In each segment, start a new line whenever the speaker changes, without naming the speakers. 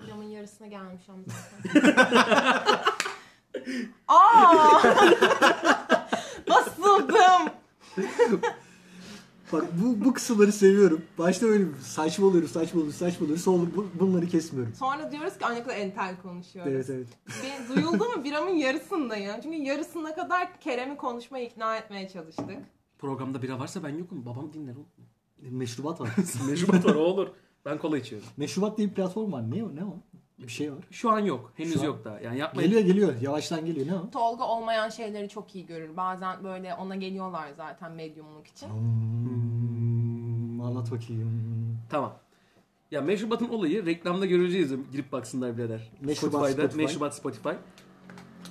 noktasına gelmiş ama.
Aa! Basıldım.
Bak bu, bu kısımları seviyorum. Başta öyle saçmalıyoruz, saçmalıyoruz, saçmalıyoruz. Sonra bu- bunları kesmiyorum.
Sonra diyoruz ki "Ay, ne kadar entel konuşuyoruz.
Evet evet.
Bir- duyuldu mu biramın yarısındayım. Çünkü yarısına kadar Kerem'i konuşmaya ikna etmeye çalıştık.
Programda bira varsa ben yokum. Babam dinler oğlum.
Meşrubat var.
Meşrubat var o olur. Ben kola içiyorum.
Meşrubat diye bir platform var. Ne o? Ne o? Bir şey var.
Şu an yok. Henüz
Şu an-
yok daha. Yani yapmayın.
Geliyor geliyor. Yavaştan geliyor. Ne o?
Tolga olmayan şeyleri çok iyi görür. Bazen böyle ona geliyorlar zaten medyumluk için.
Hmm, anlat bakayım.
Tamam. Ya meşrubatın olayı reklamda göreceğiz. Girip baksınlar birader.
Meşrubat Spotify.
Meşrubat Spotify.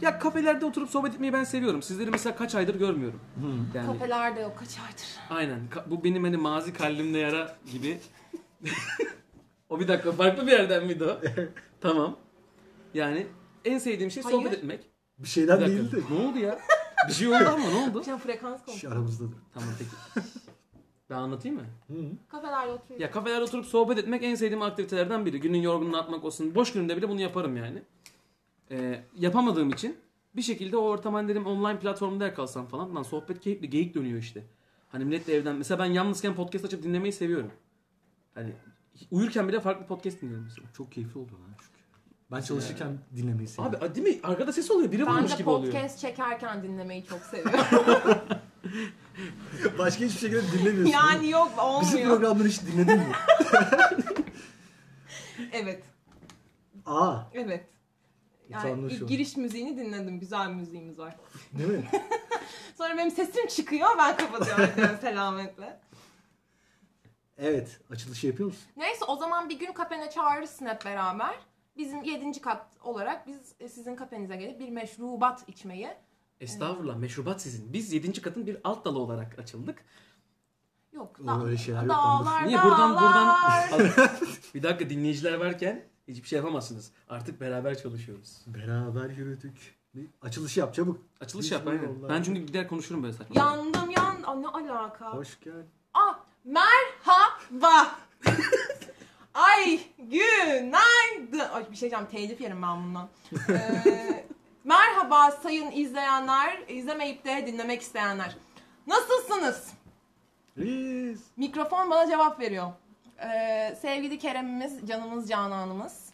Ya kafelerde oturup sohbet etmeyi ben seviyorum. Sizleri mesela kaç aydır görmüyorum. Yani
Kafelerde yok kaç aydır.
aynen. Ka- Bu benim hani mazi kalbimde yara gibi. o bir dakika farklı bir yerden miydi o? tamam. Yani en sevdiğim şey sohbet
Hayır.
etmek.
Bir
Bir
şeyden
dakika,
değil de.
Ne oldu ya? Bir şey oldu ama ne oldu?
Şimdi frekans konuş.
Şş, aramızdadır.
tamam peki. Ben anlatayım mı?
Kafelerde oturuyor.
Ya kafelerde oturup sohbet etmek en sevdiğim aktivitelerden biri. Günün yorgunluğunu atmak olsun. Boş günümde bile bunu yaparım yani. Ee, yapamadığım için bir şekilde o ortam hani dedim online platformda yakalsam falan. Lan sohbet keyifli geyik dönüyor işte. Hani millet de evden. Mesela ben yalnızken podcast açıp dinlemeyi seviyorum. Hani uyurken bile farklı podcast dinliyorum mesela.
Çok keyifli oldu lan çünkü. Ben çalışırken dinlemeyi seviyorum.
Abi değil mi? Arkada ses oluyor. Biri
Ben
vurmuş
de
gibi oluyor.
podcast çekerken dinlemeyi çok seviyorum.
Başka hiçbir şekilde dinlemiyorsun.
yani yok
Bizim
olmuyor.
programları hiç dinledin mi?
Evet.
Aa.
Evet. Yani
utandım şu
ilk
an.
giriş müziğini dinledim. Güzel müziğimiz var.
Değil mi?
Sonra benim sesim çıkıyor. Ben kapatıyorum diyorum selametle.
Evet. Açılışı yapıyor musun?
Neyse o zaman bir gün kafene çağırırsın hep beraber. Bizim 7. kat olarak biz e, sizin kafenize gelip bir meşrubat içmeyi.
Estağfurullah meşrubat sizin. Biz 7. katın bir alt dalı olarak açıldık.
Yok.
Oğlum,
Da-
öyle şeyler yok
dağlar,
Niye buradan buradan
dağlar.
bir dakika dinleyiciler varken hiçbir şey yapamazsınız. Artık beraber çalışıyoruz.
Beraber yürüdük. Bir Açılışı yap çabuk.
Açılış
Biz
yap aynen.
vallahi-
Ben çünkü gider konuşurum böyle saçma.
Yandım yan. Aa, ne alaka?
Hoş geldin.
Ah merhaba. Ay günaydın. Ay bir şey diyeceğim telif yerim ben bundan. Ee, merhaba sayın izleyenler, izlemeyip de dinlemek isteyenler. Nasılsınız?
Reis.
Mikrofon bana cevap veriyor. Ee, sevgili Kerem'imiz, canımız Canan'ımız.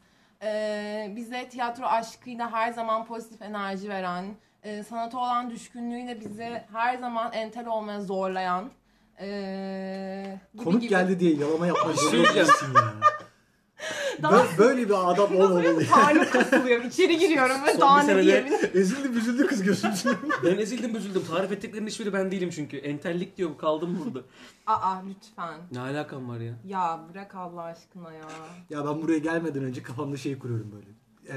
Ee, bize tiyatro aşkıyla her zaman pozitif enerji veren, e, sanata olan düşkünlüğüyle bizi her zaman entel olmaya zorlayan. ee, gibi
Konuk
gibi.
geldi diye yalama yapmak zorunda
Söyleyeceğim.
değilsin ya.
Daha-
Bö- böyle bir adam olmamalı.
Parmak kasılıyor. İçeri giriyorum ve
Son
daha
bir
ne
senede-
diyebilirim?
Ezildi büzüldü kız gözümsün.
Ben ezildim büzüldüm. Tarif ettiklerinin hiçbiri ben değilim çünkü. Entellik diyor kaldım burada.
Aa lütfen.
ne alakam var ya?
Ya bırak Allah aşkına ya.
ya ben buraya gelmeden önce kafamda şey kuruyorum böyle.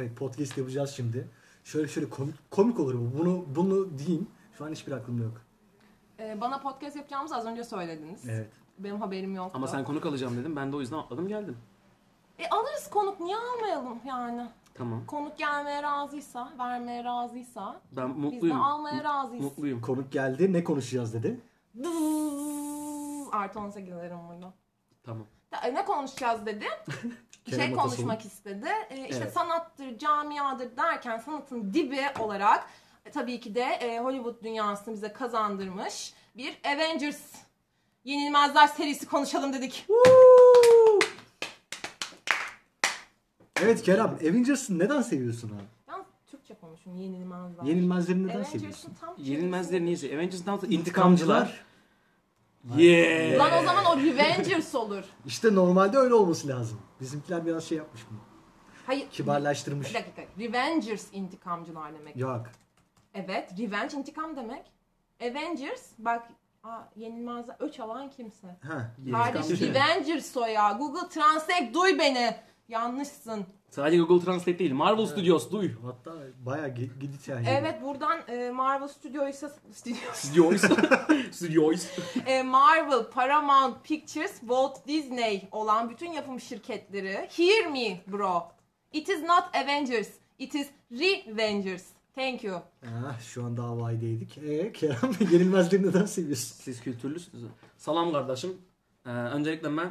Evet podcast yapacağız şimdi. Şöyle şöyle komik, komik olur bu. Bunu bunu diyeyim. Şu an hiçbir aklımda yok.
Ee, bana podcast yapacağımızı az önce söylediniz.
Evet.
Benim haberim yoktu.
Ama sen konuk alacağım dedim. Ben de o yüzden atladım geldim.
E alırız konuk niye almayalım yani?
Tamam.
Konuk gelmeye razıysa, vermeye razıysa,
Ben
biz de
mutluyum.
almaya razıyız.
Mutluyum.
Konuk geldi. Ne konuşacağız dedi.
Dızzz, Artı 18'lerim burada.
Tamam.
Ta- Ne konuşacağız dedi. şey
Kerem Atasoğlu.
konuşmak istedi. E, işte
Evet.
sanattır, camiadır derken sanatın dibi olarak e, tabii ki de e, Hollywood dünyasını bize kazandırmış bir Avengers Yenilmezler serisi konuşalım dedik.
Evet Kerem, Avengers'ı neden seviyorsun abi?
Yalnız Türkçe konuşun Yenilmezler.
Yenilmezleri neden seviyorsun?
Avengers'ın tam
Yenilmezleri neyse. Avengers'ın tam intikamcılar.
İntikamcılar.
Yeah.
Lan o zaman o Revengers olur.
İşte normalde öyle olması lazım. Bizimkiler biraz şey yapmış bunu.
Hayır.
Kibarlaştırmış.
Bir dakika. Revengers intikamcılar demek.
Yok.
Evet. Revenge intikam demek. Avengers bak aa, yenilmezler. Öç alan kimse.
Ha.
Kardeş Revengers o ya. Google Translate duy beni. Yanlışsın.
Sadece Google Translate değil. Marvel Studios duy.
Hatta bayağı gi- gidit yani.
Evet buradan e, Marvel Studios'a Studios,
Studios. Studios.
e, Marvel, Paramount Pictures, Walt Disney olan bütün yapım şirketleri hear me bro. It is not Avengers. It is Revengers. Thank you.
Ha, Ah, şu an davaydaydık. Ee Kerem yenilmezleri neden seviyorsun?
Siz kültürlüsünüz. Salam kardeşim. Ee, öncelikle ben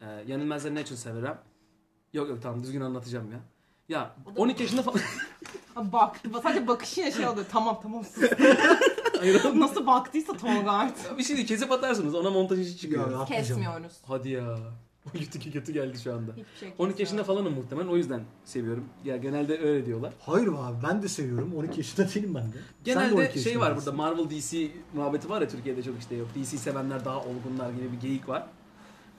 e, yenilmezleri ne için severim? Yok yok tamam düzgün anlatacağım ya. Ya 12 yaşında falan...
Ha, Bak. Sadece bakışıyla şey oluyor. Tamam tamam sus.
Hayır oğlum.
Nasıl baktıysa Tolga artık.
bir şey değil kesip atarsınız ona montaj işi
Ya,
çıkıyor.
atmayacağım.
Kesmiyoruz.
Hadi ya. Bu kötü ki kötü geldi şu anda.
Hiçbir şey
12 yaşında
kesmiyoruz.
falanım muhtemelen o yüzden seviyorum. Ya genelde öyle diyorlar.
Hayır be abi ben de seviyorum. 12 yaşında değilim ben de. Sen de 12
Genelde şey
yaşında
var
değilsin.
burada Marvel DC muhabbeti var ya Türkiye'de çok işte yok. DC sevenler daha olgunlar gibi bir geyik var.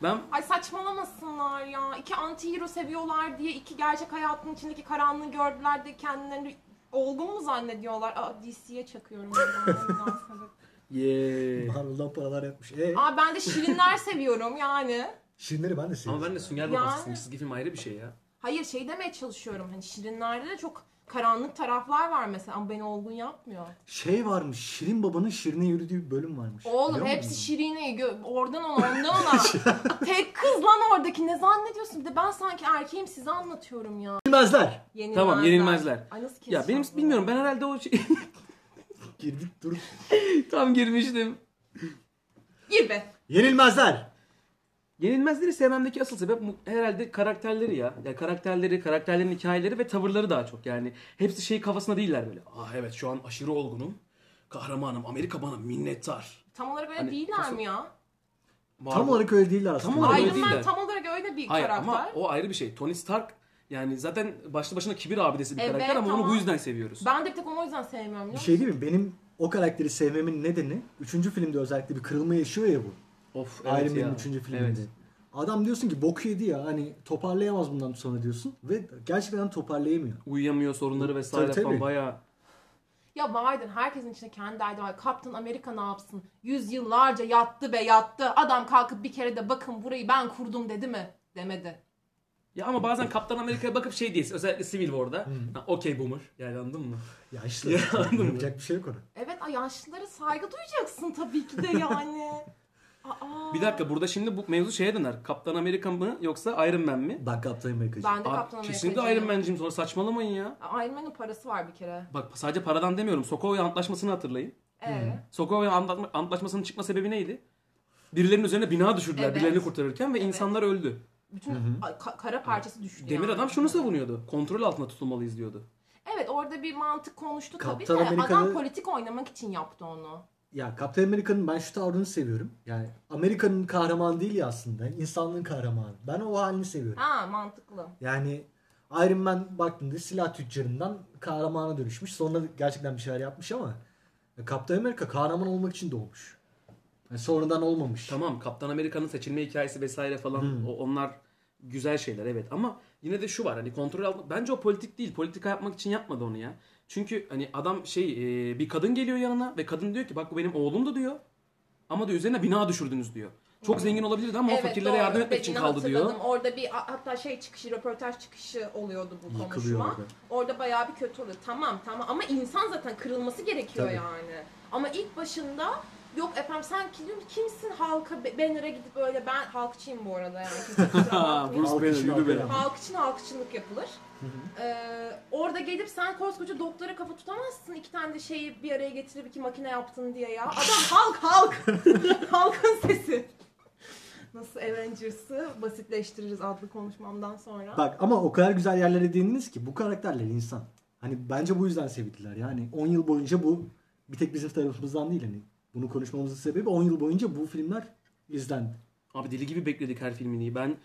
Ben
Ay saçmalamasınlar ya. İki anti-hero seviyorlar diye iki gerçek hayatın içindeki karanlığı gördüler de kendilerini olgun mu zannediyorlar? Aa DC'ye çakıyorum. ben, en güzel sebep.
ye.
Marvel'dan paralar yapmış. E,
Aa ben de şirinler seviyorum yani.
şirinleri ben de
Ama
seviyorum.
ben de Sünger
Yani.
Babası'yım. Çizgi film ayrı bir şey ya.
Hayır şey demeye çalışıyorum. Hani şirinlerde de çok karanlık taraflar var mesela ama beni olgun yapmıyor.
Şey varmış. Şirin babanın şirine yürüdüğü bir bölüm varmış.
Oğlum
Biliyor
hepsi
musun?
şirine. gö- Oradan ona ondan ona. Tek kız lan oradaki ne zannediyorsun? Bir de ben sanki erkeğim size anlatıyorum ya.
Bilmezler.
Yenilmezler.
Tamam, yenilmezler.
Ay nasıl
Ya benim
keseceğim bunu?
bilmiyorum ben herhalde o şey
Girdik dur.
tam girmiştim.
Gir be.
Yenilmezler.
Yenilmezleri sevmemdeki asıl sebep mu- herhalde karakterleri ya. Ya karakterleri, karakterlerin hikayeleri ve tavırları daha çok. Yani hepsi şey kafasında değiller böyle. Ah evet şu an aşırı olgunum. Kahramanım. Amerika bana minnettar.
Tam olarak öyle
Hani
değiller
kafası-
mi ya?
Tam olarak öyle değiller aslında.
Tam olarak öyle
Iron
değil.
Man
değiller.
tam olarak öyle bir
Hayır
karakter.
ama o ayrı bir şey. Tony Stark yani zaten başlı başına kibir abidesi bir
Evet,
karakter ama onu
ama-
bu yüzden seviyoruz.
Ben de bir tek onu o yüzden sevmiyorum.
Bir
biliyor
şey değil mi? Benim o karakteri sevmemin nedeni 3. filmde özellikle bir kırılma yaşıyor ya bu.
Of
Iron
evet
Man'in
ya.
3. filminde.
Evet.
Adam diyorsun ki bok yedi ya hani toparlayamaz bundan sonra diyorsun ve gerçekten toparlayamıyor.
Uyuyamıyor sorunları vesaire
Tabii, tabii.
falan bayağı.
musun? Ya vardır herkesin içinde kendi derdi var. Captain America ne yapsın? Yüzyıllarca yattı be yattı. Adam kalkıp bir kere de bakın burayı ben kurdum dedi mi? Demedi.
Ya ama bazen Kaptan Amerika'ya bakıp şey diyorsun. Özellikle Civil War'da. Ha, Okey boomer. Yani anladın mı?
Ya işte yapacak bir şey yok ona.
Evet ay yaşlılara saygı duyacaksın tabii ki de yani. Aa,
Bir dakika burada şimdi bu mevzu şeye döner. Kaptan Amerika mı yoksa Iron Man mi?
Bak Captain
Ben
America'cı.
de
Abi,
Kaptan Amerika'cıyım.
kesinlikle Iron Man'ciyim sonra saçmalamayın ya.
Iron Man'in parası var bir kere.
Bak sadece paradan demiyorum. Sokovia Antlaşması'nı hatırlayın.
Ee,
Sokovia Antlaşma- Antlaşması'nın çıkma sebebi neydi? Birilerinin üzerine bina düşürdüler
Evet.
birilerini kurtarırken ve
Evet.
insanlar öldü.
bütün a- ka- kara parçası düştü
Demir
yani.
adam şunu savunuyordu. Kontrol altında tutulmalıyız diyordu.
Evet orada bir mantık konuştu tabii de
Kaptan Amerika'da-
adam politik oynamak için yaptı onu.
Ya Captain America'nın ben şu tavrını seviyorum. Yani Amerika'nın kahramanı değil ya aslında. insanlığın kahramanı. Ben o halini seviyorum.
Ha mantıklı.
Yani Iron Man baktığında silah tüccarından kahramana dönüşmüş. Sonra gerçekten bir şeyler yapmış ama ya Captain America kahraman olmak için doğmuş. Yani sonradan olmamış.
Tamam Kaptan Amerika'nın seçilme hikayesi vesaire falan o, onlar güzel şeyler evet ama yine de şu var hani kontrol altında bence o politik değil politika yapmak için yapmadı onu ya. Çünkü hani adam şey e, bir kadın geliyor yanına ve kadın diyor ki bak bu benim oğlumdu diyor ama diyor üzerine bina düşürdünüz diyor. Çok zengin olabilirdi ama o fakirlere
doğru.
yardım etmek için
Dediğini
kaldı diyor.
hatırladım. Orada bir hatta şey çıkışı, röportaj çıkışı oluyordu bu
Yıkılıyor
konuşma.
orada.
Orada. bayağı bir kötü oluyor. Tamam tamam ama insan zaten kırılması gerekiyor
Tabii.
yani. Ama ilk başında yok efendim sen kim, kimsin halka be- banner'a gidip öyle ben halkçıyım bu arada yani. Kimse kusura bakmasın.
Bruce Banner
Alkışlar
yürü be.
falan.
Halk için halkçılık yapılır. Ee, orada gelip sen koskoca doktora kafa tutamazsın iki tane de şeyi bir araya getirip iki makine yaptın diye ya. Adam halk halk. Halkın sesi. Nasıl Avengers'ı basitleştiririz adlı konuşmamdan sonra.
Bak ama o kadar güzel yerlere değindiniz ki bu karakterler insan. Hani bence bu yüzden sevdiler. Yani 10 yıl boyunca bu bir tek bizim tarafımızdan değil hani. Bunu konuşmamızın sebebi 10 yıl boyunca bu filmler izlendi.
Abi deli gibi bekledik her filmini. Ben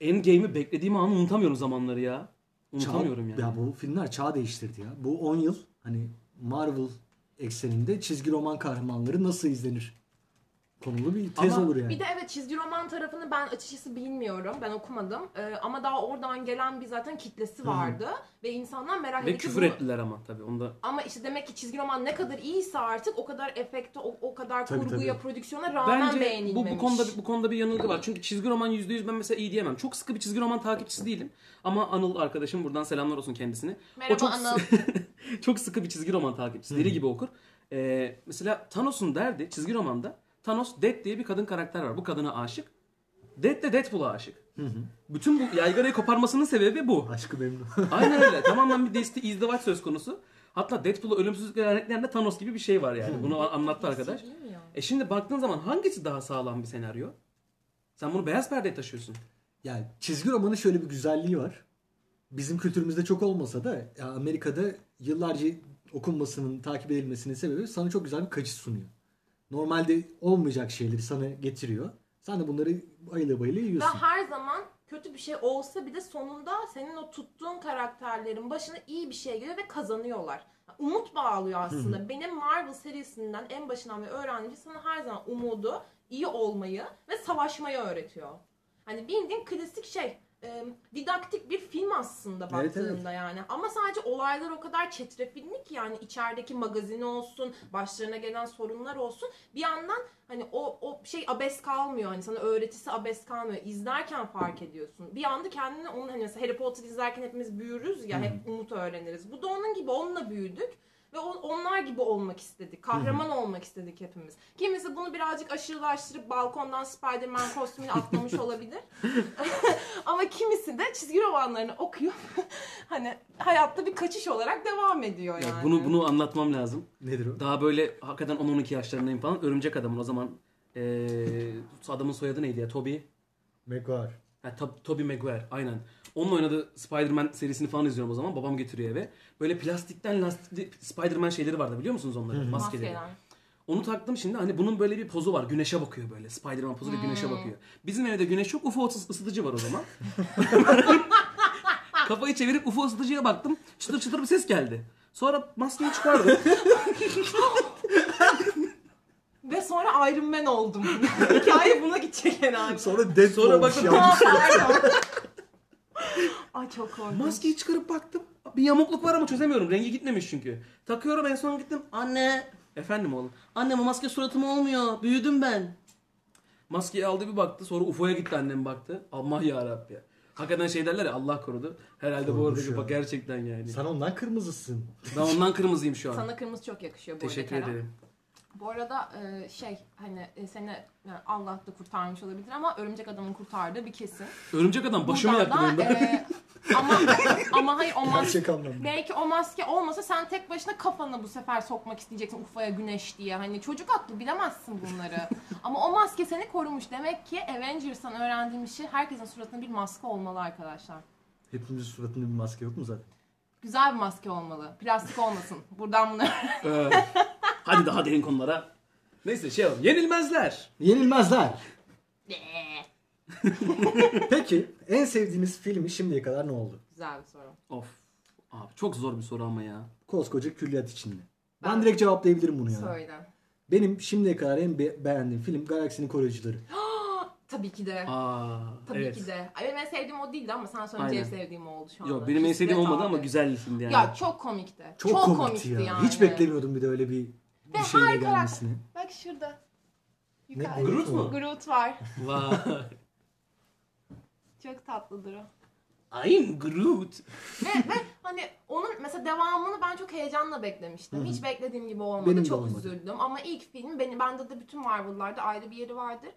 Endgame'i beklediğim anı unutamıyorum zamanları ya.
Çağ-
Unutamıyorum yani.
Ya bu filmler çağ değiştirdi ya. Bu 10 yıl hani Marvel ekseninde çizgi roman kahramanları nasıl izlenir konulu bir tez
Ama
olur yani.
Bir de evet çizgi roman tarafını ben açıkçası bilmiyorum. Ben okumadım. Ee, ama daha oradan gelen bir zaten kitlesi vardı. Ve insanlar merak
Ve
ediyor ki
küfür
bu-
ettiler ama tabii onda
Ama işte demek ki çizgi roman ne kadar iyiyse artık o kadar efekte, o, o kadar
Tabii,
kurguya,
tabii.
prodüksiyona rağmen
Bence bu,
beğenilmemiş.
bu konuda bu konuda bir yanılgı var. Çünkü çizgi roman %100 ben mesela iyi diyemem. Çok sıkı bir çizgi roman takipçisi değilim. Ama Anıl arkadaşım buradan selamlar olsun kendisine.
Merhaba
o çok,
Anıl.
çok sıkı bir çizgi roman takipçisi. Deli gibi okur. Ee, mesela Thanos'un derdi çizgi romanda Thanos Death diye bir kadın karakter var. Bu kadına aşık. Death de Deadpool'a aşık. Bütün bu yaygarayı koparmasının sebebi bu.
Aşkı memnun.
Aynen öyle. Tamamen bir desti izdivaç söz konusu. Hatta Deadpool'u ölümsüzlük lanetlerinde Thanos gibi bir şey var yani. Bunu a- anlattı arkadaş.
Şey Değil mi ya?
E şimdi baktığın zaman hangisi daha sağlam bir senaryo? Sen bunu beyaz perdeye taşıyorsun.
yani çizgi romanın şöyle bir güzelliği var. bizim kültürümüzde çok olmasa da ya Amerika'da yıllarca okunmasının takip edilmesinin sebebi sana çok güzel bir kaçış sunuyor. Normalde olmayacak şeyleri sana getiriyor. Sen de bunları bayıla bayıla
Ve
yiyorsun.
her zaman kötü bir şey olsa bir de sonunda senin o tuttuğun karakterlerin başına iyi bir şey geliyor ve kazanıyorlar. Umut bağlıyor aslında. Benim Marvel serisinden en başından beri öğrendiğim şey sana her zaman umudu, iyi olmayı ve savaşmayı öğretiyor. Hani bildiğin klasik şey. e, didaktik bir film aslında
Evet,
baktığında yani. Ama sadece olaylar o kadar çetrefilli ki yani içerideki magazini olsun, başlarına gelen sorunlar olsun. Bir yandan hani o o şey abes kalmıyor hani sana öğretisi abes kalmıyor izlerken fark ediyorsun bir anda kendini onun hani mesela Harry Potter izlerken hepimiz büyürüz ya hep umut öğreniriz bu da onun gibi onunla büyüdük ve o- onlar gibi olmak istedik kahraman olmak istedik hepimiz kimisi bunu birazcık aşırılaştırıp balkondan Spider-Man kostümünü atlamış olabilir ama kimisi de çizgi romanlarını okuyup hani hayatta bir kaçış olarak devam ediyor yani.
Ya bunu bunu anlatmam lazım.
Nedir o?
Daha böyle hakikaten 10-12 yaşlarındayım falan. Örümcek adamın o zaman eee adamın soyadı neydi ya? Toby.
Megar.
Ha, Tob- Tobey Maguire aynen. Onun oynadığı Spider-Man serisini falan izliyorum o zaman. Babam getiriyor eve. Böyle plastikten lastikli Spider-Man şeyleri vardı biliyor musunuz onları? Maskeleri.
Maskeler.
Onu taktım şimdi. Hani bunun böyle bir pozu var. Güneşe bakıyor böyle. Spider-Man pozu ile güneşe bakıyor. Bizim evde güneş çok UFO ısı- ısıtıcı var o zaman. Kafayı çevirip UFO ısıtıcıya baktım. Çıtır çıtır bir ses geldi. Sonra maskeyi çıkardım.
Ve sonra Iron Man oldum. Hikaye buna gidecek herhalde.
Sonra Deadpool
Sonra
olmuş
bakın-
ya.
Aa, pardon. Ay çok korkunç.
Maskeyi çıkarıp baktım. Bir yamukluk var ama çözemiyorum. Rengi gitmemiş çünkü. Takıyorum en son gittim. Anne. Efendim oğlum. Anne bu maske suratıma olmuyor. Büyüdüm ben. Maskeyi aldı bir baktı. Sonra UFO'ya gitti annem baktı. Allah ya Rabbi. Hakikaten şey derler ya Allah korudu. Herhalde bu
Korumuş
arada
ya.
bak gerçekten yani.
Sen ondan kırmızısın.
Ben ondan kırmızıyım şu an.
Sana kırmızı çok yakışıyor bu arada
Teşekkür
Kerem.
ederim.
Bu arada e, şey hani e, seni yani Allah da kurtarmış olabilir ama örümcek adamın kurtardığı bir kesin.
Örümcek adam başımı
Buradan
yaktı benim.
da,
Ben.
e, ama, ama hayır o maske
Gerçek anlamda.
Belki o maske olmasa sen tek başına kafanı bu sefer sokmak isteyeceksin ufaya güneş diye. Hani çocuk aklı bilemezsin bunları. Ama o maske seni korumuş. Demek ki Avengers'tan öğrendiğim şey herkesin suratına bir maske olmalı arkadaşlar.
Hepimizin suratında bir maske yok mu zaten?
Güzel bir maske olmalı. Plastik olmasın. Buradan bunu
Ee, hadi daha derin konulara. Neyse şey yapalım. Yenilmezler.
Yenilmezler. Peki en sevdiğiniz filmi şimdiye kadar ne oldu?
Güzel bir soru.
Of. Abi çok zor bir soru ama ya.
Koskoca külliyat içinde. Ben,
Ben-
direkt cevaplayabilirim bunu yani.
Söyle.
Benim şimdiye kadar en be- beğendiğim film Galaksinin Koruyucuları.
Tabii ki de.
Aa,
Tabii
evet.
ki de. Ay, benim en sevdiğim o değildi ama sen söyleyince en
Aynen.
sevdiğim o oldu şu anda.
Yok benim en sevdiğim
Bisiklet
olmadı ama
abi.
güzel bir filmdi yani.
Ya çok komikti.
Çok, komikti, ya. Hiç beklemiyordum bir de öyle bir, bir
Ve
şeyle
her karakter-
gelmesini.
Bak şurada.
Ne,
Yukarı.
Groot mu?
Groot var.
Vay.
Çok tatlıdır o.
I'm Groot.
ve, ve hani onun mesela devamını ben çok heyecanla beklemiştim. Hiç beklediğim gibi olmadı.
Benim de
çok
olmadı.
üzüldüm. Ama ilk film beni bende de bütün Marvel'larda ayrı bir yeri vardır.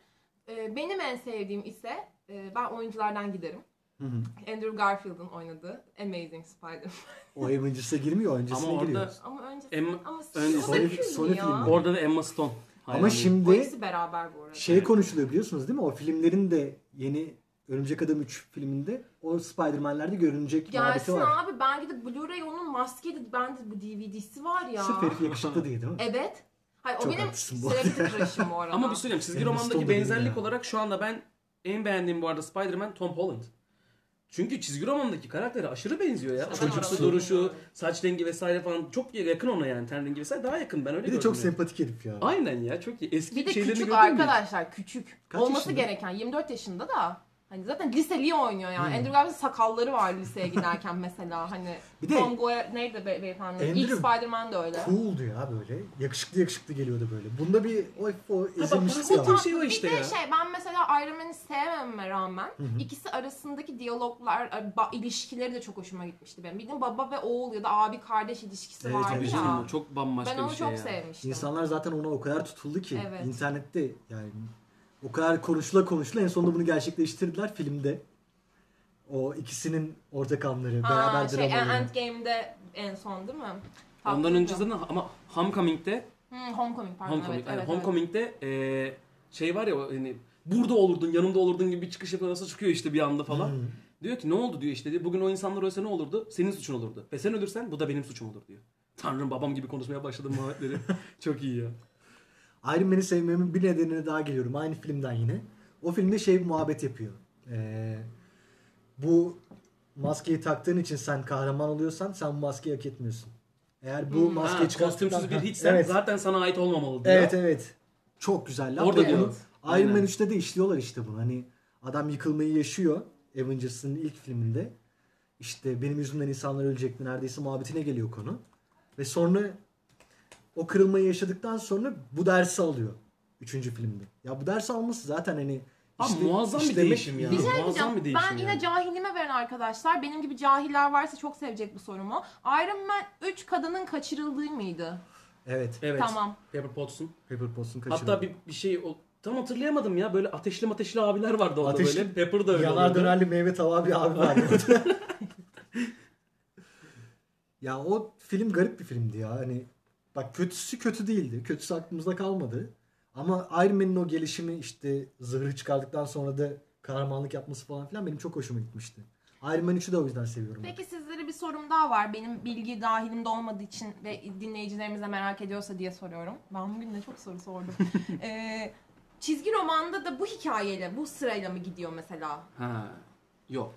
Ee, benim en sevdiğim ise e, ben oyunculardan giderim.
Hı hı.
Andrew Garfield'ın oynadığı Amazing Spider-Man.
O Avengers'a girmiyor, öncesine
Ama orada-
giriyor.
Ama önce
Em-
ama
önce-
o da
Sony-
küldü
Sony
ya.
filmi.
Orada da Emma Stone.
Ama
Hayranıyım.
O
şimdi
ikisi beraber bu arada.
şey konuşuluyor biliyorsunuz değil mi? O filmlerin de yeni Örümcek Adam 3 filminde o Spider-Man'lerde görünecek muhabbeti
Gelsin
var.
abi ben gidip Blu-ray onun maskeli bende bu DVD'si var ya.
Sırf herif yakışıklı diye değil mi?
Evet. Hayır o
Çok
benim
haklısın bu
celebrity crush'ım bu arada.
Ama bir şey söyleyeyim. Çizgi
Emma Stone
romandaki
da değil
benzerlik
ya.
olarak şu anda ben en beğendiğim bu arada Spider-Man Tom Holland. Çünkü çizgi romandaki karaktere aşırı benziyor ya. O
Zaten
Çocuksu
aralarında-
duruşu, saç rengi vesaire falan çok yakın ona yani ten rengi vesaire daha yakın ben öyle
Bir de çok
gördüm yani.
sempatik herif ya.
Aynen ya çok iyi. Eski
Bir de
şeylerini
küçük
gördün mü?
arkadaşlar küçük.
Kaç
Olması
yaşında?
gereken 24 yaşında da hani zaten liseliği oynuyor yani.
Hmm.
Andrew Garfield'in sakalları var liseye giderken mesela hani
Bir de-
Tom Goyer neydi be, beyefendi? İlk
Andrew-
Spider-Man de öyle.
Cool'du ya böyle. Yakışıklı yakışıklı geliyordu böyle. Bunda bir o, o ezilmişlik
bahsettiğim
de
Tam-
var.
şey o işte
bir de
ya.
şey ben mesela Iron Man'i sevmememe rağmen ikisi arasındaki diyaloglar, e, ba- ilişkileri de çok hoşuma gitmişti benim. Bildiğin baba ve oğul ya da abi kardeş ilişkisi
Evet,
vardı
tabii
ya.
canım,
Çok bambaşka
ben onu
bir şey
çok
ya.
sevmiştim.
İnsanlar zaten ona o kadar tutuldu ki
Evet.
internette yani o kadar konuşula konuşula en sonunda bunu gerçekleştirdiler filmde. O ikisinin ortak anları,
ha,
beraber
şey,
dramaları.
Endgame'de en son değil mi?
Ondan
Tatlıydı.
önce zaten ama Homecoming'de
Hmm, Homecoming pardon.
Homecoming,
evet, evet,
aynen.
evet.
Homecoming'de
Hmm.
eee, şey var ya o hani burada olurdun, yanımda olurdun gibi bir çıkış yapıyor nasıl çıkıyor işte bir anda falan. Diyor ki ne oldu diyor işte diyor. Bugün o insanlar ölse ne olurdu? Senin suçun olurdu. Ve sen ölürsen bu da benim suçum olur diyor. Tanrım babam gibi konuşmaya başladım Muhammedleri. Çok iyi ya.
Iron Man'i sevmemin bir nedenine daha geliyorum. Aynı filmden yine. O filmde şey bir muhabbet yapıyor. Ee, bu maskeyi taktığın için sen kahraman oluyorsan sen bu maskeyi hak etmiyorsun. Eğer bu maskeyi
Hmm. Ha,
çıkarttıktan...
kostümsüz bir
Ha,
hiçsen
evet.
zaten sana ait olmamalı diyor.
Evet evet. Çok güzel. laf.
Orada
Ve
diyor.
onu Iron
Aynen.
Man 3'te de işliyorlar işte bunu. Hani adam yıkılmayı yaşıyor. Avengers'ın ilk filminde. İşte benim yüzümden insanlar ölecekti neredeyse muhabbetine geliyor konu. Ve sonra o kırılmayı yaşadıktan sonra bu dersi alıyor. Üçüncü filmde. Ya bu dersi alması zaten hani
Abi muazzam bir
işlemek-
değişim ya.
Bir şey
Muazzam
diyeceğim.
bir değişim
ben yine
yani.
cahilime veren arkadaşlar. Benim gibi cahiller varsa çok sevecek bu sorumu. Iron Man 3 kadının kaçırıldığı mıydı?
Evet.
Evet.
Tamam.
Pepper Potts'un.
Pepper Potts'un kaçırıldı.
Hatta bir, bir şey o, tam hatırlayamadım ya böyle ateşli ateşli abiler vardı orada
Ateşli-
böyle. Pepper da öyle
Yanar
oluyordu.
dönerli meyve tabağı bir abi vardı. ya o film garip bir filmdi ya. Hani bak kötüsü kötü değildi. Kötüsü aklımızda kalmadı. Ama Iron Man'in o gelişimi işte zırhı çıkardıktan sonra da kahramanlık yapması falan filan benim çok hoşuma gitmişti. Iron Man 3'ü de o yüzden seviyorum. ben.
Peki sizlere bir sorum daha var. Benim bilgi dahilimde olmadığı için ve dinleyicilerimiz de merak ediyorsa diye soruyorum. Ben bugün de çok soru sordum. Ee, çizgi romanda da bu hikayeyle, bu sırayla mı gidiyor mesela?
Ha. Yok.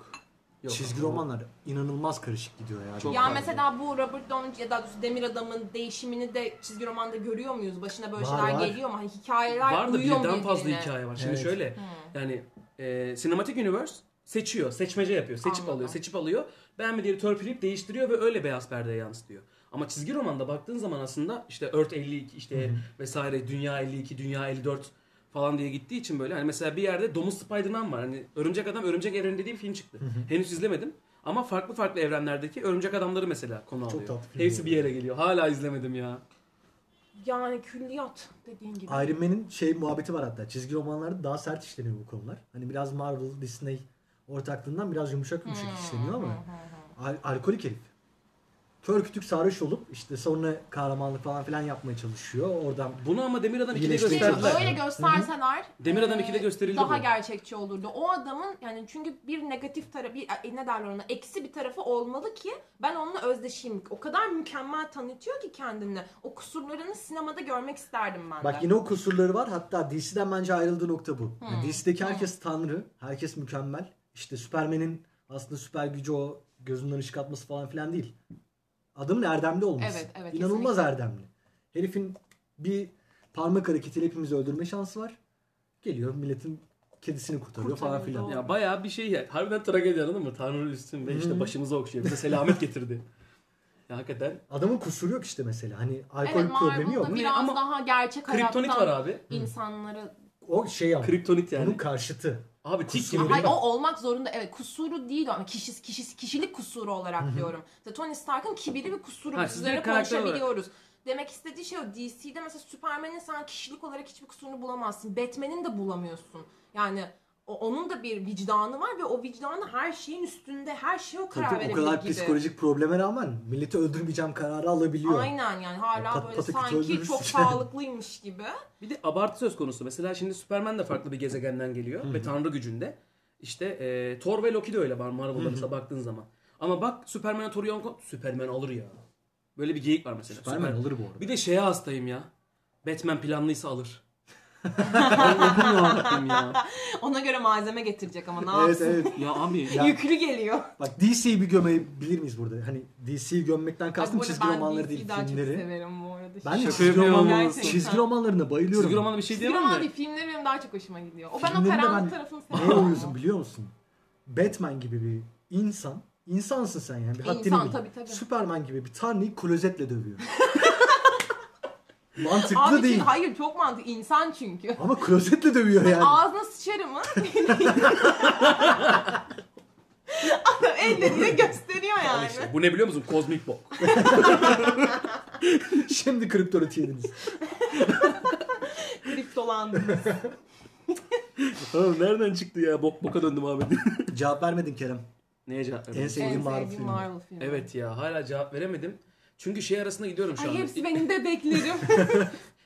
Yok.
Çizgi romanlar inanılmaz karışık gidiyor ya.
Çok.
ya
fazla.
mesela bu Robert Downey ya da Demir Adam'ın değişimini de çizgi romanda görüyor muyuz? Başına böyle
Var,
şeyler
var.
geliyor mu? Hani hikayeler
Var da
uyuyor mu
birden fazla
birbirine? Hmm.
hikaye var. Şimdi
Evet.
şöyle yani e, Cinematic Universe seçiyor. Seçmece yapıyor. Seçip
Anladım.
alıyor. Seçip alıyor. Beğenmediğini törpüleyip değiştiriyor ve öyle beyaz perdeye yansıtıyor. Ama çizgi romanda baktığın zaman aslında işte Earth 52 işte vesaire Dünya 52, Dünya 54 falan diye gittiği için böyle hani mesela bir yerde Domuz Spider-Man var. Hani Örümcek Adam Örümcek Evreni dediğim film çıktı. Henüz izlemedim. Ama farklı farklı evrenlerdeki örümcek adamları mesela konu alıyor.
tatlı film
Hepsi
oldu.
bir yere geliyor. Hala izlemedim ya.
Yani külliyat dediğin gibi.
Iron Man'in şey muhabbeti var hatta. Çizgi romanlarda daha sert işleniyor bu konular. Hani biraz Marvel, Disney ortaklığından biraz yumuşak
şey
Hmm.
yumuşak işleniyor ama al- alkolik herif. Kör kütük sarhoş olup işte sonra kahramanlık falan filan yapmaya çalışıyor. Oradan
Bunu ama Demir Adam 2'de
İyileşmeye
gösterdiler.
çalışıyor.
Öyle gösterseler
Demir Adam
eee,
2'de
e,
gösterildi
Daha
bu.
gerçekçi olurdu. O adamın yani çünkü bir negatif tarafı, bir e, ne derler ona, eksi bir tarafı olmalı ki ben onunla özdeşeyim. O kadar mükemmel tanıtıyor ki kendini. O kusurlarını sinemada görmek isterdim ben de.
bak yine o kusurları var. Hatta DC'den bence ayrıldığı nokta bu.
Hmm.
Yani DC'deki herkes tanrı, herkes mükemmel. İşte Superman'in aslında süper gücü o gözünden ışık atması falan filan değil. Adamın erdemli olması.
Evet, evet,
İnanılmaz
kesinlikle.
erdemli. Herifin bir parmak hareketiyle hepimizi öldürme şansı var. Geliyor milletin kedisini kurtarıyor, falan
Kurtarıyor,
filan.
doğru.
Ya bayağı bir şey ya. Harbiden tragedi anladın mı? Tanrı üstün ve
Hmm.
işte başımıza okşuyor. Bize selamet getirdi. Ya hakikaten.
Adamın kusuru yok işte mesela. Hani alkol
Evet
problemi yok.
Marvel'da biraz
Ama
daha gerçek
Kriptonit
hayattan
var abi.
insanları
O şey ama.
Kriptonit yani.
Bunun karşıtı.
Abi tik
Kusur-
gibi.
Hayır o olmak zorunda evet kusuru değil ama kişis, kişis, kişilik kusuru olarak diyorum. İşte Tony Stark'ın kibiri ve kusuru
Ha,
biz
siz
üzerine
direkt karakter olarak.
konuşabiliyoruz. Demek istediği şey o DC'de mesela Superman'in sen kişilik olarak hiçbir kusurunu bulamazsın. Batman'in de bulamıyorsun. Yani o- onun da bir vicdanı var ve o vicdanı her şeyin üstünde her şeye o karar
Tabii o
verebilir
kadar
gibi.
psikolojik probleme rağmen milleti öldürmeyeceğim kararı alabiliyor.
Aynen yani hala
Pat-
böyle
pataküte
sanki
öldürürsün.
çok sağlıklıymış gibi.
Bir de abartı söz konusu. Mesela şimdi Superman de farklı bir gezegenden geliyor ve tanrı gücünde. İşte e, Thor ve Loki de öyle var Marvel'da mesela baktığın zaman. Ama bak Superman'e Thor yok. Superman alır ya. Böyle bir geyik var mesela.
Superman
Süper-
alır bu arada.
Bir de şeye hastayım ya. Batman planlıysa alır. Allah'ım yarabbim ya.
Ona göre malzeme getirecek ama ne
Evet
yapsın?
evet.
Ya abi.
Yüklü geliyor.
Bak DC'yi bir gömebilir miyiz burada? Hani DC'yi gömmekten kastım
Ay, bu arada
çizgi
ben
romanları
DC'yi
değil
daha çok
filmleri.
severim bu arada.
Ben de
Şaka
çizgi,
yapıyor
roman-
musun?
Gerçekten.
çizgi romanlarına bayılıyorum.
Çizgi romanı bir şey
Çizgi
diyemem
roman
de.
değil, filmleri benim daha çok hoşuma gidiyor. O ben o
Filmlerinde
karanlık
ben
tarafını
Neye
seviyorum.
uyuzum biliyor musun? Batman gibi bir insan. insansın sen yani. Bir
İnsan,
haddini bil.
tabii, tabii.
Superman gibi bir tanrıyı klozetle dövüyor. Mantıklı
Abi
değil.
çünkü- hayır çok mantıklı. İnsan çünkü.
Ama klozetle dövüyor yani.
Ağzına sıçarım mı? Adam elleriyle gösteriyor yani.
İşte bu ne biliyor musun? Kozmik bok.
Şimdi kriptonit yediniz.
Kriptolandınız.
Oğlum nereden çıktı ya? Bok boka döndüm abi.
Cevap vermedin Kerem.
Neye cevap
En
veremedin?
sevdiğim
en
Şey, Marvel
sevdiğim
filmi.
Marvel filmi.
Evet ya hala cevap veremedim. Çünkü şey arasında gidiyorum şu
Ay
an.
hepsi benim bebeklerim.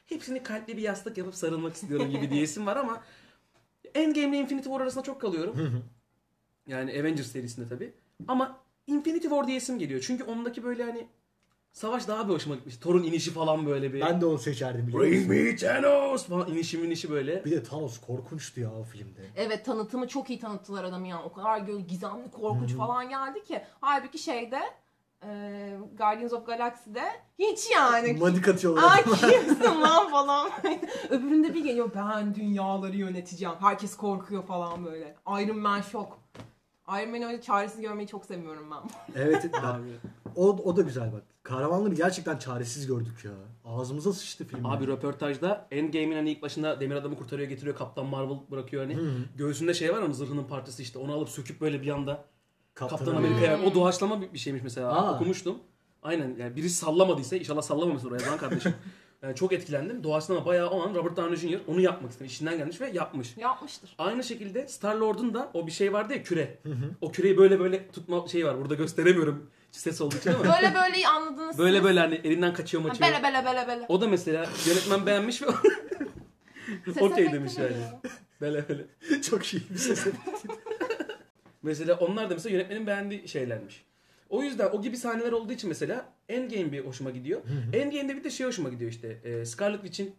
Hepsini kalpli bir yastık yapıp sarılmak istiyorum gibi diyesim var ama Endgame ile Infinity War arasında çok kalıyorum. Yani Avengers serisinde tabii. Ama Infinity War diyesim geliyor. Çünkü ondaki böyle hani savaş daha bir hoşuma gitmiş. Thor'un inişi falan böyle bir.
Ben de onu seçerdim biliyor
Bring
musun?
me Thanos falan inişi minişi böyle.
Bir de Thanos korkunçtu ya o filmde.
Evet tanıtımı çok iyi tanıttılar adamı ya. O kadar böyle gizemli, korkunç falan geldi ki. Halbuki şeyde e, Guardians of Galaxy'de hiç yani.
Madik atıyorlar.
Aa
adama.
kimsin lan falan. Öbüründe bir geliyor ben dünyaları yöneteceğim. Herkes korkuyor falan böyle. Iron Man şok. Iron Man'i öyle çaresiz görmeyi çok seviyorum ben.
evet ben,
Abi,
o, o da güzel bak. Kahramanları gerçekten çaresiz gördük ya. Ağzımıza sıçtı film.
abi röportajda Endgame'in hani ilk başında demir adamı kurtarıyor getiriyor Kaptan Marvel bırakıyor hani. Göğsünde şey var ama zırhının parçası işte onu alıp söküp böyle bir anda Kaptan Amerika evet, o doğaçlama bir bir şeymiş mesela
Aa.
okumuştum. Aynen yani biri sallamadıysa inşallah sallamamıştır o yazan kardeşim. Yani çok etkilendim. Doğaçlama bayağı o an Robert Downey Jr. onu yapmak istemiş. İçinden gelmiş ve yapmış.
Yapmıştır.
Aynı şekilde Star-Lord'un da o bir şey vardı ya küre. O küreyi böyle böyle tutma şey var. Burada gösteremiyorum ses olduğu için ama.
Böyle böyle iyi anladınız.
böyle
siz.
böyle hani elinden kaçıyor
Ha,
maçıyor.
Bele bele bele bele.
O da mesela yönetmen beğenmiş ve
Ses
okey
efekti
demiş
veriyor.
yani. Böyle böyle.
Çok iyi bir ses.
Mesela onlar da mesela yönetmenin beğendiği şeylermiş. O yüzden o gibi sahneler olduğu için mesela Endgame bir hoşuma gidiyor. Endgame'de bir de şey hoşuma gidiyor işte. E, Scarlet Witch'in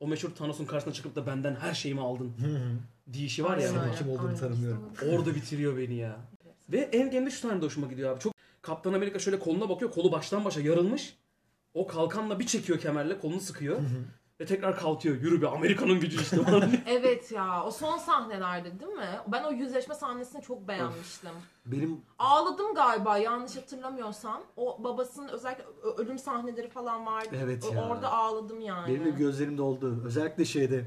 o meşhur Thanos'un karşısına çıkıp da benden her şeyimi aldın diyişi var ya.
Aynen
Senin
öyle.
kim olduğunu
Aynen,
tanımıyorum.
işte
Orada bitiriyor beni ya. Ve Endgame'de şu sahne de hoşuma gidiyor abi. Çok Kaptan Amerika şöyle koluna bakıyor. Kolu baştan başa yarılmış. O kalkanla bir çekiyor kemerle kolunu sıkıyor. Ve tekrar kalkıyor. Yürü be Amerika'nın gücü işte.
Evet ya o son sahnelerde değil mi? Ben o yüzleşme sahnesini çok beğenmiştim.
Benim
Ağladım galiba yanlış hatırlamıyorsam. O babasının özellikle ö- ölüm sahneleri falan vardı.
Evet
O-
ya.
Orada ağladım yani.
benim de gözlerim doldu. Özellikle şeyde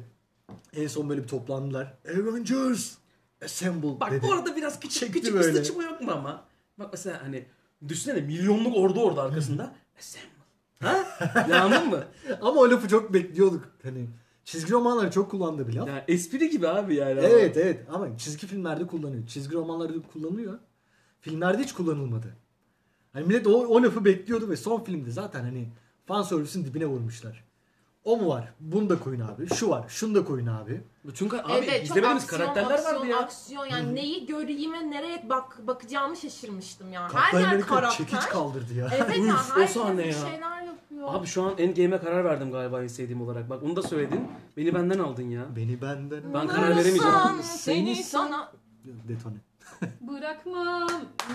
en son böyle bir toplandılar. Avengers Assemble
Bak
dedi.
bu arada biraz küçük
Çekti
küçük
böyle.
bir sıçma yok mu ama? Bak mesela hani düşünsene milyonluk ordu orada arkasında. Assemble. Ha? Yandın mı?
Ama o lafı çok bekliyorduk. Hani çizgi romanlar çok kullandı bir laf.
Yani espri gibi abi yani.
Evet evet ama çizgi filmlerde kullanıyor. Çizgi romanlarda kullanılıyor. Filmlerde hiç kullanılmadı. Hani millet o, o lafı bekliyordu ve son filmde zaten hani fan servisin dibine vurmuşlar. O mu var? Bunu da koyun abi. Şu var. Şunu da koyun abi.
Bütün ka- abi
Evet, çok
izlemediğimiz
aksiyon,
karakterler
aksiyon,
vardı ya.
aksiyon. Yani neyi göreyime nereye bak bakacağımı şaşırmıştım yani. Her
Kaptan
yer
Amerika
karakter.
çekiç kaldırdı ya.
Evet
Üf,
ya
o
herkes
sahne
bir
ya.
şeyler yapıyor.
Abi şu an Endgame'e karar verdim galiba en sevdiğim olarak. Bak onu da söyledin. Beni benden aldın ya.
Beni benden...
Ben karar veremeyeceğim.
Sanırsan
Seni
Seni sana
Detone.
Bırakmam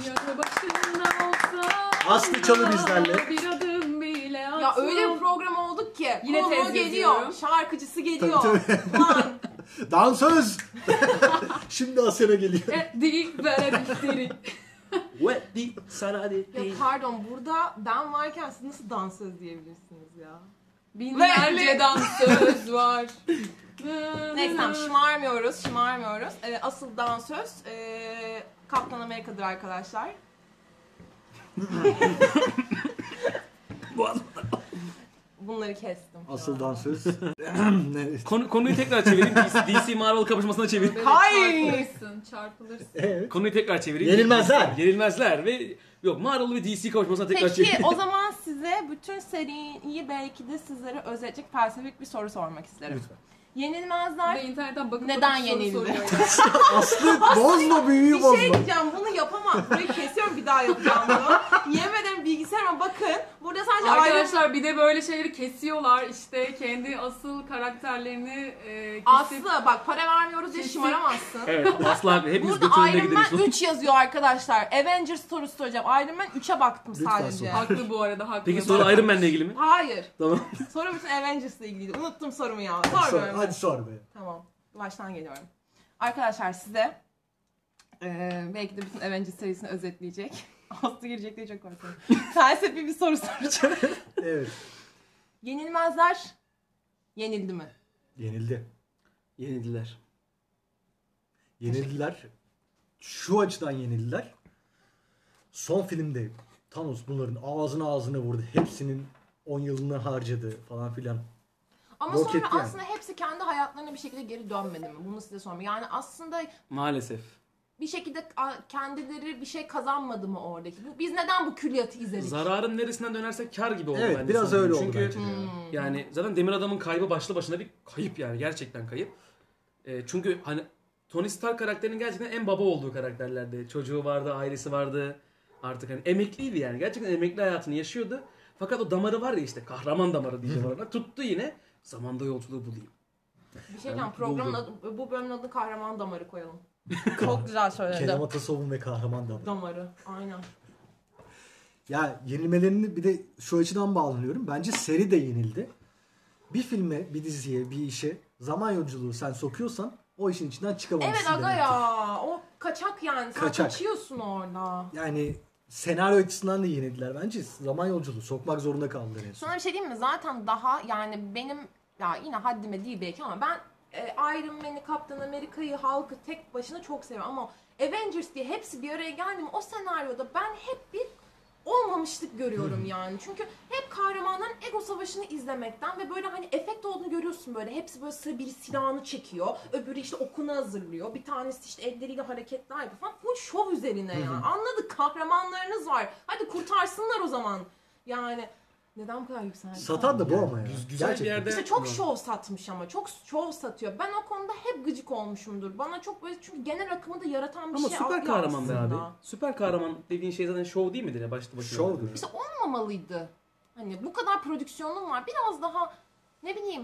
yakı başında olsa
Aslı Çalı bizlerle.
Bir adım bile atsam
ya öyle bir program olduk ki
Yine
Yine
tez
konuğu geliyor,
yazıyorum.
şarkıcısı geliyor.
Tabii,
Lan
Dansöz! Şimdi Asena geliyor.
E, değil verebildiri.
Ve di sana di.
ya pardon burada ben varken siz nasıl dansöz diyebilirsiniz ya?
Binlerce dansöz var.
Neyse tamam şımarmıyoruz, şımarmıyoruz. Ee, asıl dansöz ee, Kaptan Amerika'dır arkadaşlar. Bunları kestim.
Asıl dansöz. evet.
Konu, konuyu tekrar çevireyim. DC, DC Marvel kapışmasına çevir.
Hayır.
Çarpılırsın, çarpılırsın.
Evet.
Konuyu tekrar çevireyim.
Yenilmezler.
Yenilmezler ve yok Marvel ve DC kapışmasına tekrar
Peki
çevireyim.
o zaman size bütün seriyi belki de sizlere özetleyecek felsefik bir soru sormak isterim.
Lütfen.
Bir
Yenilmezler
de internetten bakıp
Neden
bakıp soru
yenildi?
soruyor.
Aslı bozma büyüğü
Bir şey
bozma.
diyeceğim bunu yapamam. Burayı kesiyorum bir daha yapacağım bunu. Yemin ederim bilgisayarıma bakın. Burada sadece ayrı...
Arkadaşlar bir de böyle şeyleri kesiyorlar işte kendi asıl karakterlerini e, kesip
Aslı bak para vermiyoruz diye şımaramazsın.
Evet asla abi, hepimiz
Burada
götüründe
Iron
gideriz.
Man 3 yazıyor arkadaşlar. Avengers sorusu soracağım. Iron Man 3'e baktım
Lütfen
sadece.
sor.
haklı bu arada haklı.
Peki soru Iron Man'le ilgili mi?
Hayır.
Tamam.
Soru bütün Avengers'la ilgiliydi. Unuttum sorumu ya.
Sor,
Sormuyorum. ben.
hadi sor be.
Tamam. Baştan geliyorum. Arkadaşlar size eee, belki de bütün Avengers serisini özetleyecek. Aslı girecek diye çok korkuyorum. Felsefi bir soru soracağım.
Evet.
Yenilmezler yenildi mi?
Yenildi.
Yenildiler.
Yenildiler. Şu açıdan yenildiler. Son filmde Thanos bunların ağzına ağzına vurdu. Hepsinin 10 yılını harcadı falan filan.
Ama
Yok
sonra
etti yani.
aslında hepsi kendi hayatlarına bir şekilde geri dönmedi mi? Bunu size sormuyorum. Yani aslında
Maalesef.
bir şekilde a- kendileri bir şey kazanmadı mı oradaki? Bu- Biz neden bu külliyatı izledik?
Zararın neresinden dönersek kar gibi oldu
Evet
bence
biraz
sanırım.
öyle oldu
Çünkü
bence de.
Hmm.
yani zaten Demir Adam'ın kaybı başlı başına bir kayıp yani gerçekten kayıp. Ee, çünkü hani Tony Stark karakterinin gerçekten en baba olduğu karakterlerdi. Çocuğu vardı, ailesi vardı. Artık hani emekliydi yani. Gerçekten emekli hayatını yaşıyordu. Fakat o damarı var ya işte kahraman damarı diyeceğim ona. Tuttu yine. Zamanda yolculuğu bulayım.
Bir şey
Ben
diyeceğim. Programın
buldum.
adı, bu bölümün adını kahraman damarı koyalım. Çok güzel
Kerem
söyledim.
Atasov'un ve kahraman da.
Damarı. Aynen.
Ya yenilmelerini bir de şu açıdan bağlanıyorum. Bence seri de yenildi. Bir filme, bir diziye, bir işe zaman yolculuğu sen sokuyorsan o işin içinden çıkamamışsın
Evet aga
demektir.
ya. O kaçak yani. Sen
Kaçak.
kaçıyorsun orada.
Yani senaryo açısından da yenildiler bence. Zaman yolculuğu sokmak zorunda kaldılar en son.
Sana bir şey diyeyim mi? Zaten daha yani benim ya yine haddime değil belki ama ben e, Iron Man'i, Kaptan Amerika'yı, halkı tek başına çok seviyorum ama Avengers diye hepsi bir araya geldi mi o senaryoda ben hep bir olmamışlık görüyorum yani. Çünkü hep kahramanların ego savaşını izlemekten ve böyle hani efekt olduğunu görüyorsun böyle. Hepsi böyle sıra biri silahını çekiyor, öbürü işte okunu hazırlıyor, bir tanesi işte elleriyle hareketler yapıyor falan. Bu şov üzerine ya. Anladık kahramanlarınız var. Hadi kurtarsınlar o zaman. Yani neden bu kadar yükseldi?
Satan da bu ama ya.
güz- güzel bir
Gerçekten.
yerde-
İşte çok
Evet.
şov satmış ama çok şov satıyor. Ben o konuda hep gıcık olmuşumdur. Bana çok böyle çünkü genel akımı da yaratan bir
Ama
şey
süper
algı
kahraman be abi.
aslında.
Süper kahraman dediğin şey zaten şov değil midir ya başlı başına?
Şovdur.
İşte olmamalıydı. Hani bu kadar prodüksiyonun var. Biraz daha ne bileyim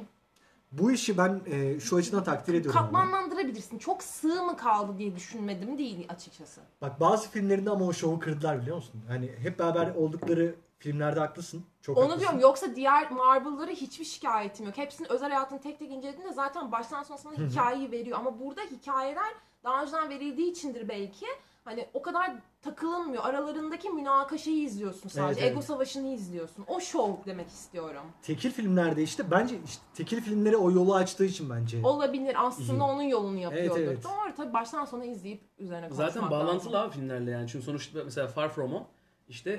Bu işi ben e, şu açıdan takdir ediyorum. ama.
katmanlandırabilirsin. Çok sığ mı kaldı diye düşünmedim değil açıkçası.
Bak bazı filmlerinde ama o şovu kırdılar biliyor musun? Hani hep beraber oldukları filmlerde haklısın. Çok
Onu
haklısın.
diyorum yoksa diğer Marvel'ları hiçbir şikayetim yok. Hepsini özel hayatını tek tek incelediğinde zaten baştan sona sana hikayeyi veriyor. Ama burada hikayeler daha önceden verildiği içindir belki. Hani o kadar takılınmıyor. Aralarındaki münakaşayı izliyorsun sadece.
Evet, evet.
Ego savaşını izliyorsun. O şov demek istiyorum.
Tekil filmlerde işte bence işte tekil filmlere o yolu açtığı için bence.
Olabilir aslında
İyi.
onun yolunu yapıyordur.
evet.
Doğru tabii baştan sona izleyip üzerine konuşmak
Zaten bağlantılı
lazım.
abi filmlerle yani. Çünkü sonuçta mesela Far From Home işte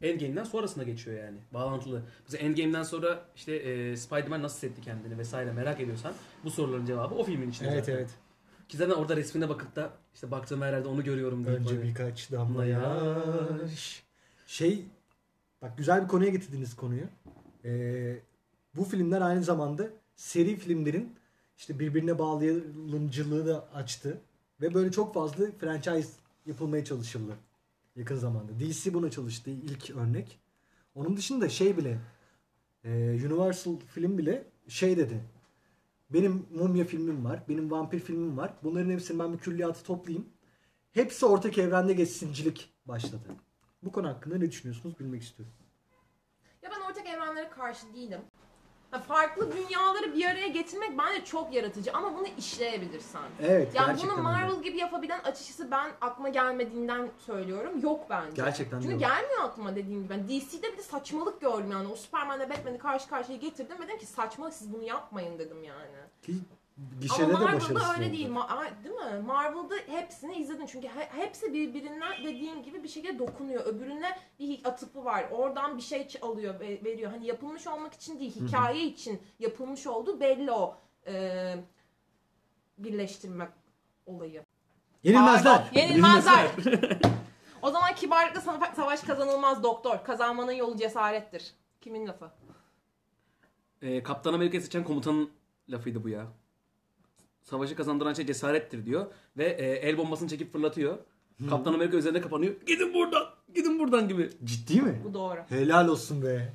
e, Endgame'den sonrasına geçiyor yani. Bağlantılı. Mesela Endgame'den sonra işte e, Spider-Man nasıl hissetti kendini vesaire merak ediyorsan bu soruların cevabı o filmin içinde
evet
zaten.
evet.
Ki zaten orada resmine bakıp da işte baktığım herhalde onu görüyorum diye.
Önce
Önce
birkaç damla yaş. Şey bak güzel bir konuya getirdiniz konuyu. Ee, bu filmler aynı zamanda seri filmlerin işte birbirine bağlayıcılığı da açtı. Ve böyle çok fazla franchise yapılmaya çalışıldı yakın zamanda. DC buna çalıştı ilk örnek. Onun dışında şey bile e, Universal film bile şey dedi. Benim mumya filmim var, benim vampir filmim var. Bunların hepsini ben bir külliyatı toplayayım. Hepsi ortak evrende geçsincilik başladı. Bu konu hakkında ne düşünüyorsunuz bilmek istiyorum.
Ya ben ortak evrenlere karşı değilim. Ha, farklı dünyaları bir araya getirmek bence çok yaratıcı ama bunu işleyebilirsen.
Evet
Yani
gerçekten
bunu
öyle.
Marvel gibi yapabilen açıkçası ben aklıma gelmediğinden söylüyorum. Yok bence.
Gerçekten
Çünkü
de yok.
gelmiyor aklıma dediğim gibi. Ben DC'de bir de saçmalık gördüm yani. O Superman'le Batman'i karşı karşıya getirdim ve dedim ki saçmalık siz bunu yapmayın dedim yani.
Ki gişede de
Ama
başarısız
Marvel'da
oldu.
öyle değil. Ma- a- değil mi? Marvel'da hepsini izledin. Çünkü he- hepsi birbirinden dediğim gibi bir şekilde dokunuyor. Öbürüne bir atıfı var. Oradan bir şey ç- alıyor, ve- veriyor. Hani yapılmış olmak için değil, hikaye için yapılmış olduğu belli o e, birleştirmek olayı.
Yenilmezler.
Pardon, Yenilmezler. o zaman kibarlıkla sa- savaş kazanılmaz doktor. Kazanmanın yolu cesarettir. Kimin lafı?
E, Kaptan Amerika'yı seçen komutanın lafıydı bu ya. Savaşı kazandıran şey cesarettir diyor. Ve e, el bombasını çekip fırlatıyor. Kaptan Amerika üzerinde kapanıyor. Gidin buradan. Gidin buradan gibi.
Ciddi mi?
Bu doğru.
Helal olsun be.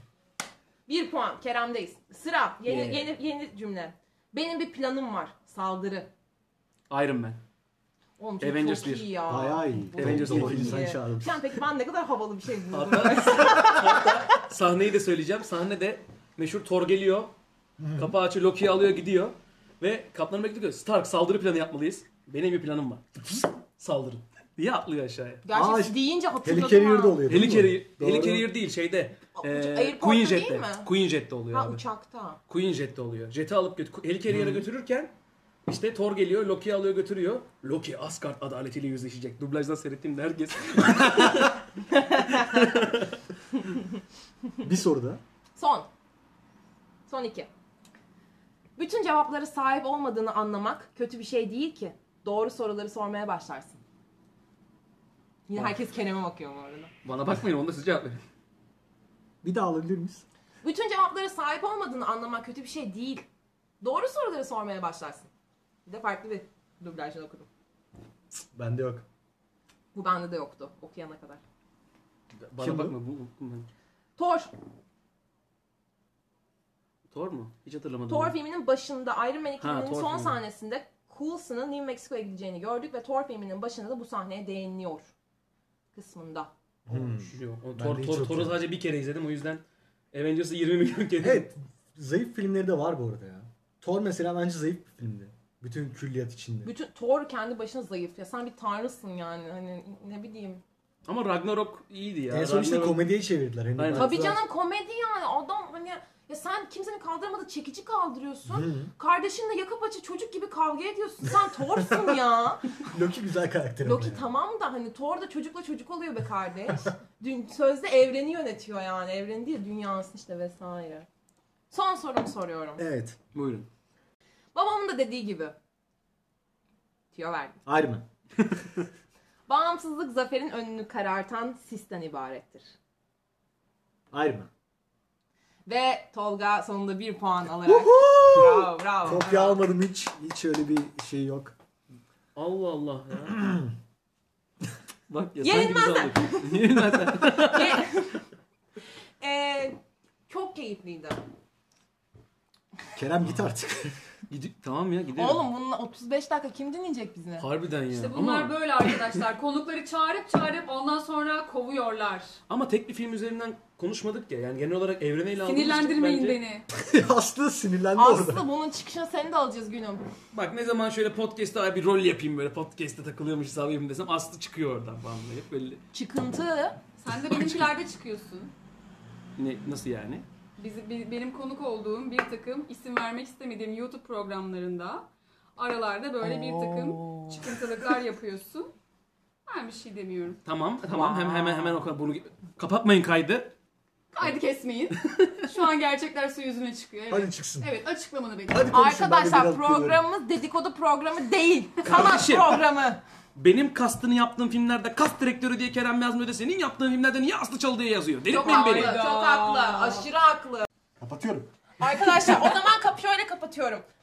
Bir puan. Kerem'deyiz. Sıra. Yeni,
Yeah.
yeni, yeni cümle. Benim bir planım var. Saldırı.
Iron Man.
Oğlum çok,
Avengers
çok
1.
iyi ya.
Bayağı iyi.
Bu
Avengers
çok
1.
iyi.
Sen çağırdın.
Şu an peki ben ne kadar havalı bir şey buldum.
Hatta, hatta sahneyi de söyleyeceğim. Sahnede meşhur Thor geliyor. Kapağı açıyor, Loki'yi alıyor, gidiyor. Ve Kaptan Amerika diyor, Stark saldırı planı yapmalıyız. Benim bir planım var. Saldırın. diye atlıyor aşağıya.
Gerçi
Aa,
deyince hatırladım
Helicarrier'de
ha.
oluyor değil mi?
Helicarrier,
Doğru.
Helicarrier değil şeyde.
Uç-
eee,
airport'ta
Queen
değil
Jet'te.
mi?
Queen Jet'te oluyor
Ha
abi.
uçakta.
Queen Jet'te oluyor. Jet'i alıp götür Helicarrier'e götürürken işte Thor geliyor, Loki'yi alıyor götürüyor. Loki Asgard adaletiyle yüzleşecek. Dublajdan seyrettiğimde herkes
Bir soru da.
Son. Son iki. Bütün cevaplara sahip olmadığını anlamak kötü bir şey değil ki. Doğru soruları sormaya başlarsın. Yine herkes Kerem'e bakıyor bu arada.
bana bakmayın onda siz cevap verin.
Bir daha alabilir miyiz?
Bütün cevaplara sahip olmadığını anlamak kötü bir şey değil. Doğru soruları sormaya başlarsın. Bir de farklı bir Dublajını okudum.
Bende yok.
Bu bende de yoktu okuyana kadar.
Bana
Kim bu?
bakma bu, bu- bu-
Thor.
Thor mu? Hiç hatırlamadım.
Thor
ben.
filminin başında Iron Man 2'nin
Hmm. Ha, Thor
son
filmi.
sahnesinde Coulson'ın New Mexico'ya gideceğini gördük ve Thor filminin başında da bu sahneye değiniliyor kısmında.
Hmm.
Yok. O
Ben
Thor,
de hiç
Thor, Thor'u
hatırlamıyorum.
sadece bir kere izledim o yüzden Avengers'ı 20 milyon kere.
Evet. Zayıf filmleri de var bu arada ya. Thor mesela bence zayıf bir filmdi. Bütün külliyat içinde.
Bütün Thor kendi başına zayıf ya sen bir tanrısın yani hani ne bileyim.
Ama Ragnarok iyiydi ya.
en son işte
Ragnarok-
komediye çevirdiler. Hani
Aynen.
ben-
Tabii canım komedi yani adam hani ya sen kimsenin kaldıramadığı çekici kaldırıyorsun.
Hı.
Kardeşinle yaka paça çocuk gibi kavga ediyorsun. Sen Thor'sun ya.
Loki güzel karakter. ama
Loki
ya.
tamam da hani Thor da çocukla çocuk oluyor be kardeş. Dün sözde evreni yönetiyor yani. Evreni değil dünyasını işte vesaire. Son sorumu soruyorum.
Evet.
Buyurun.
Babamın da dediği gibi. Tüyo verdim.
Iron Man.
Bağımsızlık zaferin önünü karartan sisten ibarettir.
Iron Man.
Ve Tolga sonunda bir puan alarak. bravo bravo.
Kopya almadım hiç. Hiç öyle bir şey yok.
Allah Allah ya. Bak ya
Yenilmez
sanki biz aldık. Yenilmezler.
Ee, çok keyifliydi.
Kerem git artık.
Gidi- tamam ya gidelim.
Oğlum bununla 35 dakika kim dinleyecek bizi?
Harbiden ya.
İşte bunlar
ama,
böyle arkadaşlar. Konukları çağırıp çağırıp ondan sonra kovuyorlar.
ama tek bir film üzerinden konuşmadık ya. Yani genel olarak evrene ile aldığımız için
Sinirlendirmeyin
bence-
beni.
Aslı sinirlendi orada.
Aslı bunun çıkışını seni de alacağız günüm.
Bak ne zaman şöyle podcast'ta abi rol yapayım böyle podcast'te takılıyormuş abim desem Aslı çıkıyor oradan falan böyle hep böyle.
Çıkıntı.
Sen de benimkilerde çıkıyorsun.
Ne, nasıl yani?
Bizi, bi- benim konuk olduğum bir takım isim vermek istemediğim YouTube programlarında aralarda böyle bir takım
Oo.
çıkıntılıklar yapıyorsun. Ben bir şey demiyorum.
Tamam tamam
Wow.
hemen hemen hemen o kadar bunu kapatmayın kaydı.
Kaydı kesmeyin. Şu an gerçekler su yüzüne çıkıyor.
Hadi
Evet,
çıksın.
evet açıklamanı bekliyorum.
Hadi konuşun. ben de
Arkadaşlar
biraz geliyorum.
programımız dedikodu programı değil. Sanat
Kardeşim.
programı.
Benim kastını yaptığım filmlerde kast direktörü diye Kerem yazmıyor da senin yaptığın filmlerde niye Aslı Çal diye yazıyor?
Çok
Delirtmeyin
haklı.
beni.
Çok haklı. Aşırı haklı.
Kapatıyorum.
Arkadaşlar o zaman kap şöyle kapatıyorum.